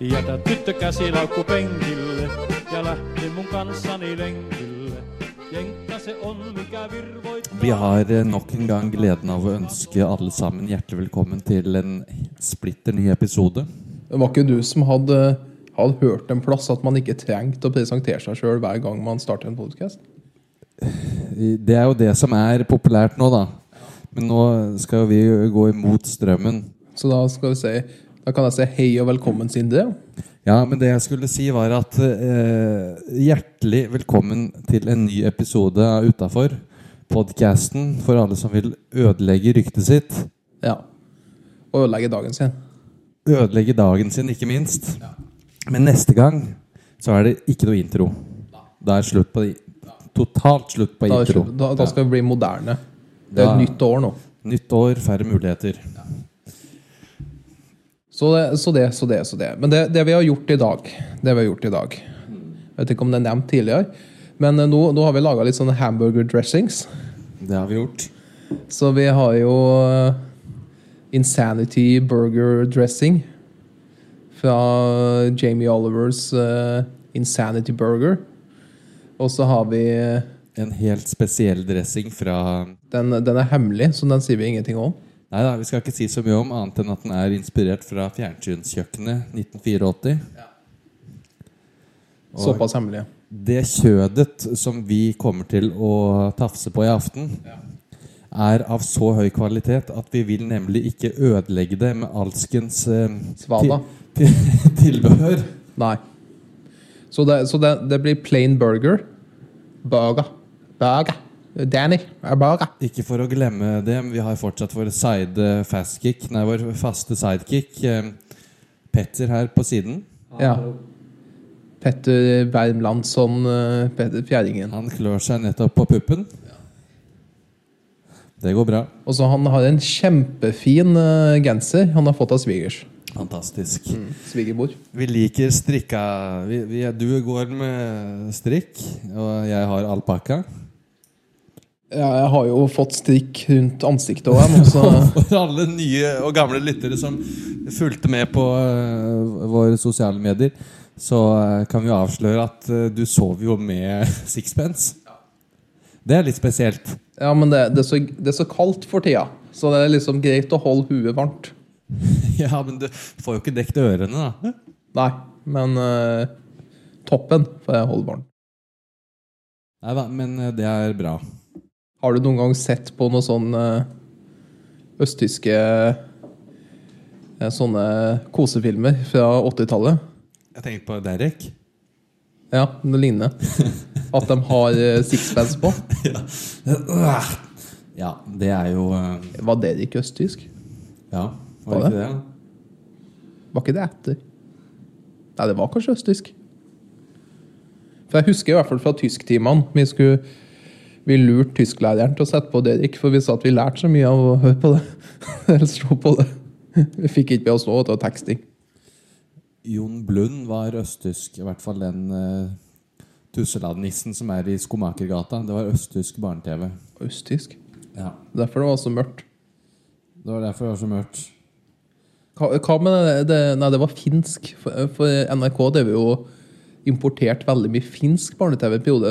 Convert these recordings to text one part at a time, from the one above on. Jätä tyttö käsilaukku penkille ja lähti mun kanssani lenkille. Jenkka se on, mikä virvoittaa. Vi har eh, nok en gang gleden av å ønske alle sammen hjertelig velkommen til en splitter ny episode. Det var ikke du som hadde, hadde hørt en plass at man ikke trengte å presentere seg sjøl hver gang man starter en podkast? I- Det er jo det som er populært nå, da. Men nå skal jo vi gå imot strømmen. Så da skal vi si Da kan jeg si hei og velkommen, Sindre. Ja, men det jeg skulle si, var at eh, hjertelig velkommen til en ny episode av Utafor. Podkasten for alle som vil ødelegge ryktet sitt. Ja. Og ødelegge dagen sin. Ødelegge dagen sin, ikke minst. Men neste gang så er det ikke noe intro. Da er slutt på Totalt slutt på Da, er det intro. slutt. da, da skal vi bli moderne. Det er Da- et nytt år nå. Nytt år, færre muligheter. Så det, så det, så det. så det. Men det, det vi har gjort i dag Det vi har gjort i dag Jeg vet ikke om det er nevnt tidligere, men eh, nå, nå har vi laga litt sånne hamburger dressings. Det har vi gjort. Så vi har jo eh, Insanity Burger Dressing fra Jamie Olivers eh, Insanity Burger. Og så har vi eh, En helt spesiell dressing fra den, den er hemmelig, så den sier vi ingenting om. Nei da, vi skal ikke si så mye om annet enn at den er inspirert fra fjernsynskjøkkenet 1984. Og- Såpass hemmelig. Det kjødet som vi kommer til å tafse på i aften, er av så høy kvalitet at vi vil nemlig ikke ødelegge det med alskens eh, Svada. til- til- tilbehør. Nei. Så det, så det, det blir plain burger. Burger. Burger. Danny er burger. Ikke for å glemme det, men vi har fortsatt vår side fastkick, nei, vår faste sidekick, eh, Petter her på siden. Ja. Petter Wermlandsson, eh, Petter Fjæringen. Han klør seg nettopp på puppen. Det går bra. Og så han har en kjempefin eh, genser han har fått av svigers. Fantastisk. Svigerbord. Vi liker strikka vi, vi, Du går med strikk, og jeg har alpakka. Ja, jeg har jo fått strikk rundt ansiktet òg, jeg nå, så For alle nye og gamle lyttere som fulgte med på eh, våre sosiale medier, så eh, kan vi jo avsløre at eh, du sov jo med sixpence. Det er litt spesielt. Ja, men det, det, er så, det er så kaldt for tida, så det er liksom greit å holde huet varmt. Ja, men du får jo ikke dekt ørene, da. Nei, men eh, toppen får jeg holde varmt. Nei da, men eh, det er bra. Har du noen gang sett på noen sånne eh, østtyske eh, sånne kosefilmer fra 80-tallet? Jeg tenker på Derek. Ja, det ligner. At de har eh, sixpence på. Ja, det er jo eh, Var det ikke østtysk? Ja, var det Var det? ikke det? Var ikke det etter? Nei, det var kanskje østtysk. For jeg husker i hvert fall fra tysktimene vi skulle vi lurte tysklæreren til å sette på Derek, for vi sa at vi lærte så mye av å høre på det. Eller se på det. Vi fikk ikke med oss noe av teksting. Jon Blund var østtysk, i hvert fall den uh, tusseladnissen som er i Skomakergata. Det var østtysk barne-TV. Østtysk. Ja. Derfor det var så mørkt. Det var derfor det var så mørkt. Hva, hva med det, det Nei, det var finsk. For, for NRK drev jo importert veldig mye finsk barne-TV en periode.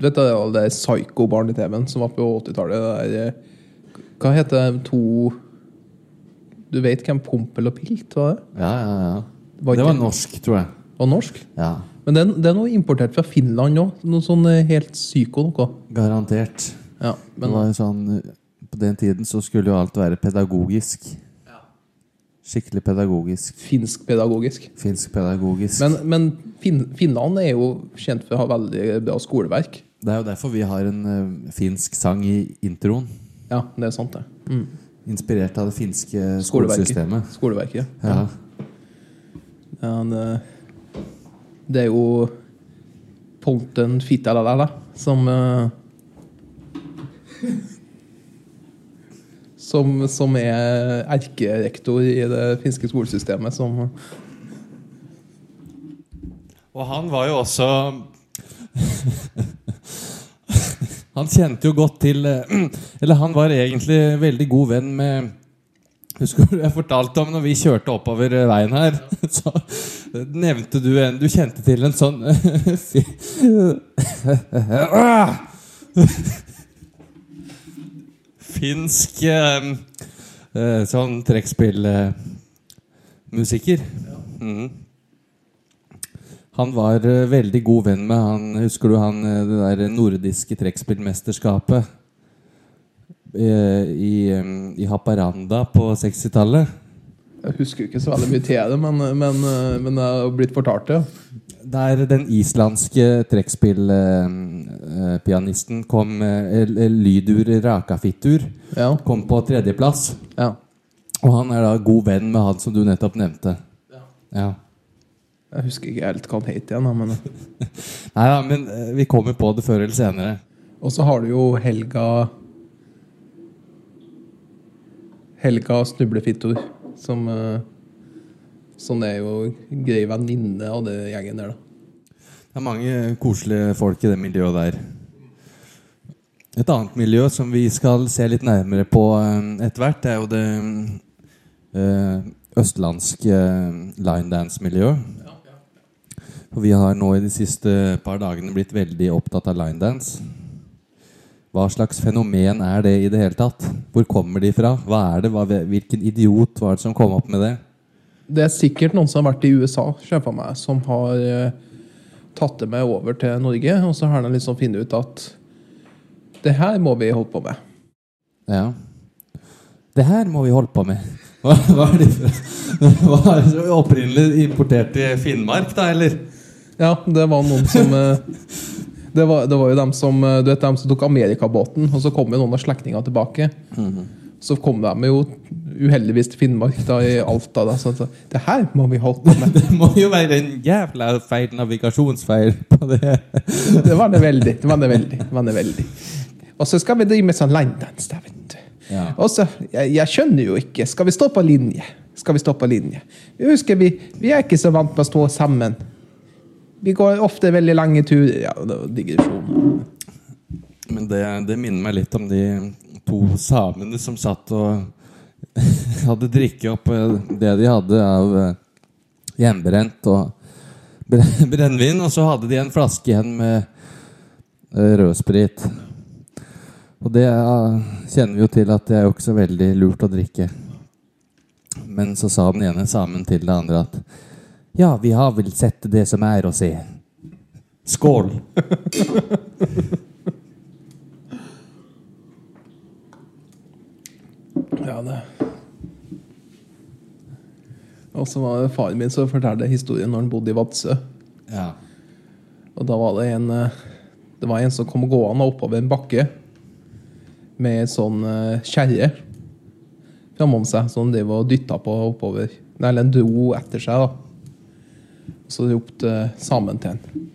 Vet du all det psyko-barne-TV-en som var på 80-tallet? det der, eh, Hva heter de to Du vet hvem Pompel og Pilt var? det? Ja, ja, ja. Var det ikke- var norsk, tror jeg. Og norsk? Ja, Men det, er- det er noe importert fra Finland òg. Noe sånn eh, helt psyko noe. garantert. Ja, det men var jo sånn, På den tiden så skulle jo alt være pedagogisk. Skikkelig pedagogisk. finsk-pedagogisk. Finsk pedagogisk. Men, men fin, Finland er jo kjent for å ha veldig bra skoleverk. det er jo derfor vi har en eh, finsk sang i introen. Ja, det er sant, det. Mm. Inspirert av det finske Skoleverket. skolesystemet. Skoleverket. ja. Ja. Men eh, det er jo Ponten Fittalala som eh, som, som er erkerektor i det finske skolesystemet. Som, Og han var jo også Han kjente jo godt til eh, Eller han var egentlig veldig god venn med Husker du jeg fortalte om når vi kjørte oppover eh, veien her? Så eh, nevnte du en Du kjente til en sånn eh, fi- Finsk eh, eh, sånn trekkspillmusiker. Mm. Han var eh, veldig god venn med han Husker du han eh, det der nordiske trekkspillmesterskapet? eh, i, eh, i Haparanda på 60-tallet. Jeg husker jo ikke så veldig mye til det, men, men, eh, men jeg har blitt fortalt det. Der den islandske trekkspillpianisten kom eh, el- el- Lydur Rakafittur Ja. kom på tredjeplass. ja. Og han er da god venn med han som du nettopp nevnte. Ja. Jeg husker ikke helt hva han het igjen. da, Men... Nei da, men eh, vi kommer på det før eller senere. Og så har du jo Helga Helga Snublefittor, som, eh, som er jo grei venninne av det gjengen der, da. Det er mange koselige folk i det miljøet der. Et annet miljø som vi skal se litt nærmere på eh, etter hvert, det er jo det eh, østlandske eh, linedance-miljøet. For vi har nå i de siste par dagene blitt veldig opptatt av linedance. Hva slags fenomen er det i det hele tatt? Hvor kommer de fra? Hva er det? Hva, hvilken idiot var det som kom opp med det? Det er sikkert noen som har vært i USA, ser jeg for meg, som har eh, tatt det med over til Norge. Og så har de liksom funnet ut at det her må vi holde på med. Ja. Det her må vi holde på med. Hva, hva er det fra? Hva er det opprinnelig importert i Finnmark, da, eller? Ja, det var noen som eh, det, var, det var jo dem som eh, Du vet dem som tok Amerikabåten, og så kom jo noen av slektningene tilbake. Så kom de jo uheldigvis til Finnmark, da, i Alta. Da, så at det her må vi holde på med. Det må jo være en jævla feil navigasjonsfeil på det. Det var det veldig. det var det veldig, det var det veldig. Og så skal vi drive med sånn landdans, da, vet du. Ja. Og så, jeg, jeg skjønner jo ikke. Skal vi stå på linje? Skal vi stå på linje? Jeg husker vi, vi er ikke så vant med å stå sammen. Vi går ofte veldig lange turer. Ja, det var digresjon. Men det, det minner meg litt om de to samene som satt og hadde drikke opp eh, det de hadde av eh, hjemmebrent og bre- brennevin, og så hadde de en flaske igjen med eh, rødsprit. Og det eh, kjenner vi jo til at det er jo ikke så veldig lurt å drikke. Men så sa den ene samen til det andre at ja, vi har vel sett det som er å se. Skål! Ja, det. Og så var det faren min som fortalte historien når han bodde i Vadsø. Ja. Og da var det en eh, Det var en som kom gående oppover en bakke med en sånn eh, kjerre framom seg, som han drev og dytta på oppover. Nei, Eller en dro etter seg, da. Og så ropte samen til han.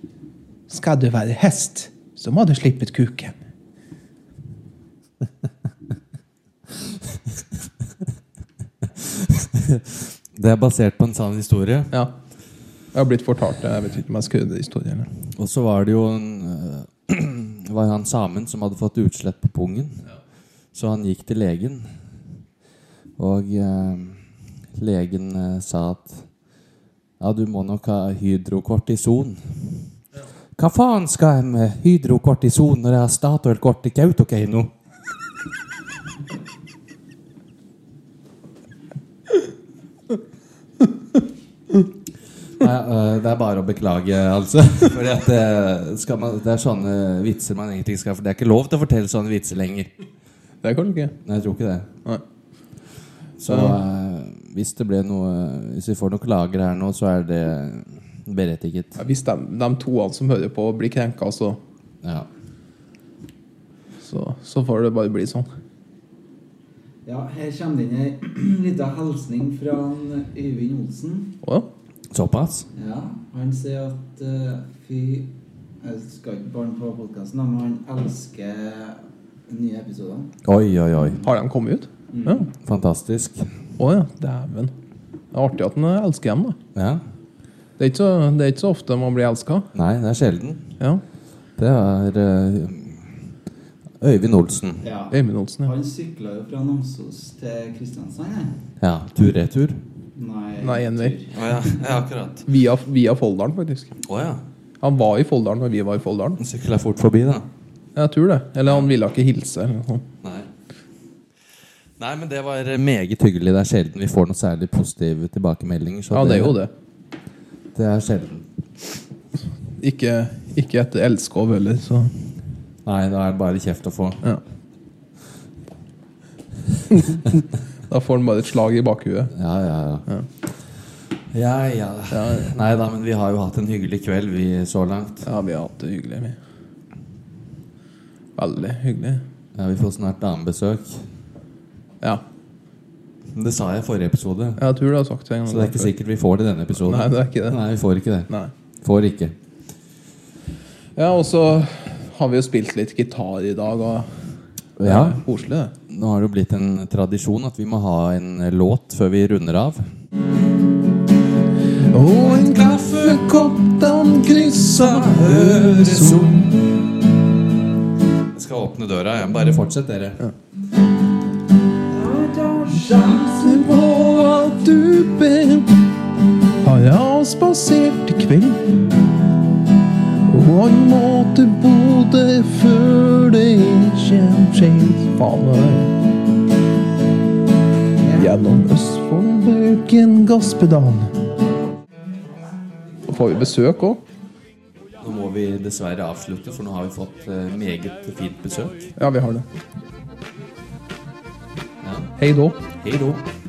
Skal du være hest, så må du slippe ut kuken. Det er basert på en sann historie. Ja. Jeg har blitt fortalt det. Jeg vet ikke om jeg skal høre historien. eller. Og så var det jo en, øh, var han samen som hadde fått utslett på pungen. Så han gikk til legen. Og øh, legen øh, sa at ja, du må nok ha hydrokortison. Hva faen skal jeg med hydrokortison når jeg har Statoil-kort i Kautokeino? Nei, øh, det er bare å beklage, altså. Fordi at det, skal man, det er sånne vitser man egentlig ikke skal For det er ikke lov til å fortelle sånne vitser lenger. Det kan du ikke. Nei, jeg tror ikke det. Nei. Så øh, hvis det ble noe Hvis vi får noen klager her nå, så er det berettiget. Ja, Hvis de, de to altså som hører på, blir krenka, så, Ja. så, så får det bare bli sånn. Ja, her kommer det inn ei lita hilsning fra han eh, Øyvind Olsen. Å, Såpass? Ja, han sier at eh, fy Jeg skal ikke barn på podkasten, men han elsker de nye episodene. Oi, oi, oi. har de kommet ut? Ja. Fantastisk. Å ja, dæven. Det er artig at han elsker hjem, da. Ja. Det er ikke så, det er ikke så ofte man blir elska. Nei, det er sjelden. Ja. Det er øh, Øyvind Olsen. Ja. Øyvind Olsen, ja. Han sykla jo fra Namsos til Kristiansand, han. Ja, tur-retur. Nei, Nei, en vei. tur. Å ja. akkurat. Via, via Folldalen, faktisk. Å ja. Han var i Folldalen når vi var i Folldalen. Sykla fort forbi, da. Jeg tror det. Eller han ville ikke hilse. Eller noe sånt. Nei. Nei, men det var meget hyggelig. Det er sjelden vi får noe særlig positive tilbakemeldinger. så Ja, det er jo det. Det er sjelden. Ikke, ikke etter Elskov heller, så Nei, da er det bare kjeft å få. ja. Da får han bare et slag i bakhuet. Ja, ja, ja. Ja, ja. Nei da, men vi har jo hatt en hyggelig kveld, vi, så langt. Ja, vi har hatt det hyggelig, vi. Veldig hyggelig. Ja, Vi får snart damebesøk. Ja. Det sa jeg i forrige episode, Jeg tror du har sagt det en gang. så det er ikke før. sikkert vi får det i denne episoden. Nei, det er ikke det. Nei, vi får ikke det. Nei. Får ikke. Ja, og så har vi jo spilt litt gitar i dag, og Ja, koselig, det. Nå har det jo blitt en tradisjon at vi må ha en eh, låt før vi runder av. Og en kaffekopp den kryssa Øresund Jeg skal åpne døra. Jeg. Bare fortsett, dere. Sjansen på at du ber Har jeg spasert i kveld Og jeg må til Bodø før det kjem sent Faen, hva er det? Gjennom Østfold, Bøken, Gaspedal Nå får vi besøk også Nå må vi dessverre avslutte, for nå har vi fått eh, meget fint besøk. Ja, vi har det Ja. Hei då Hei då.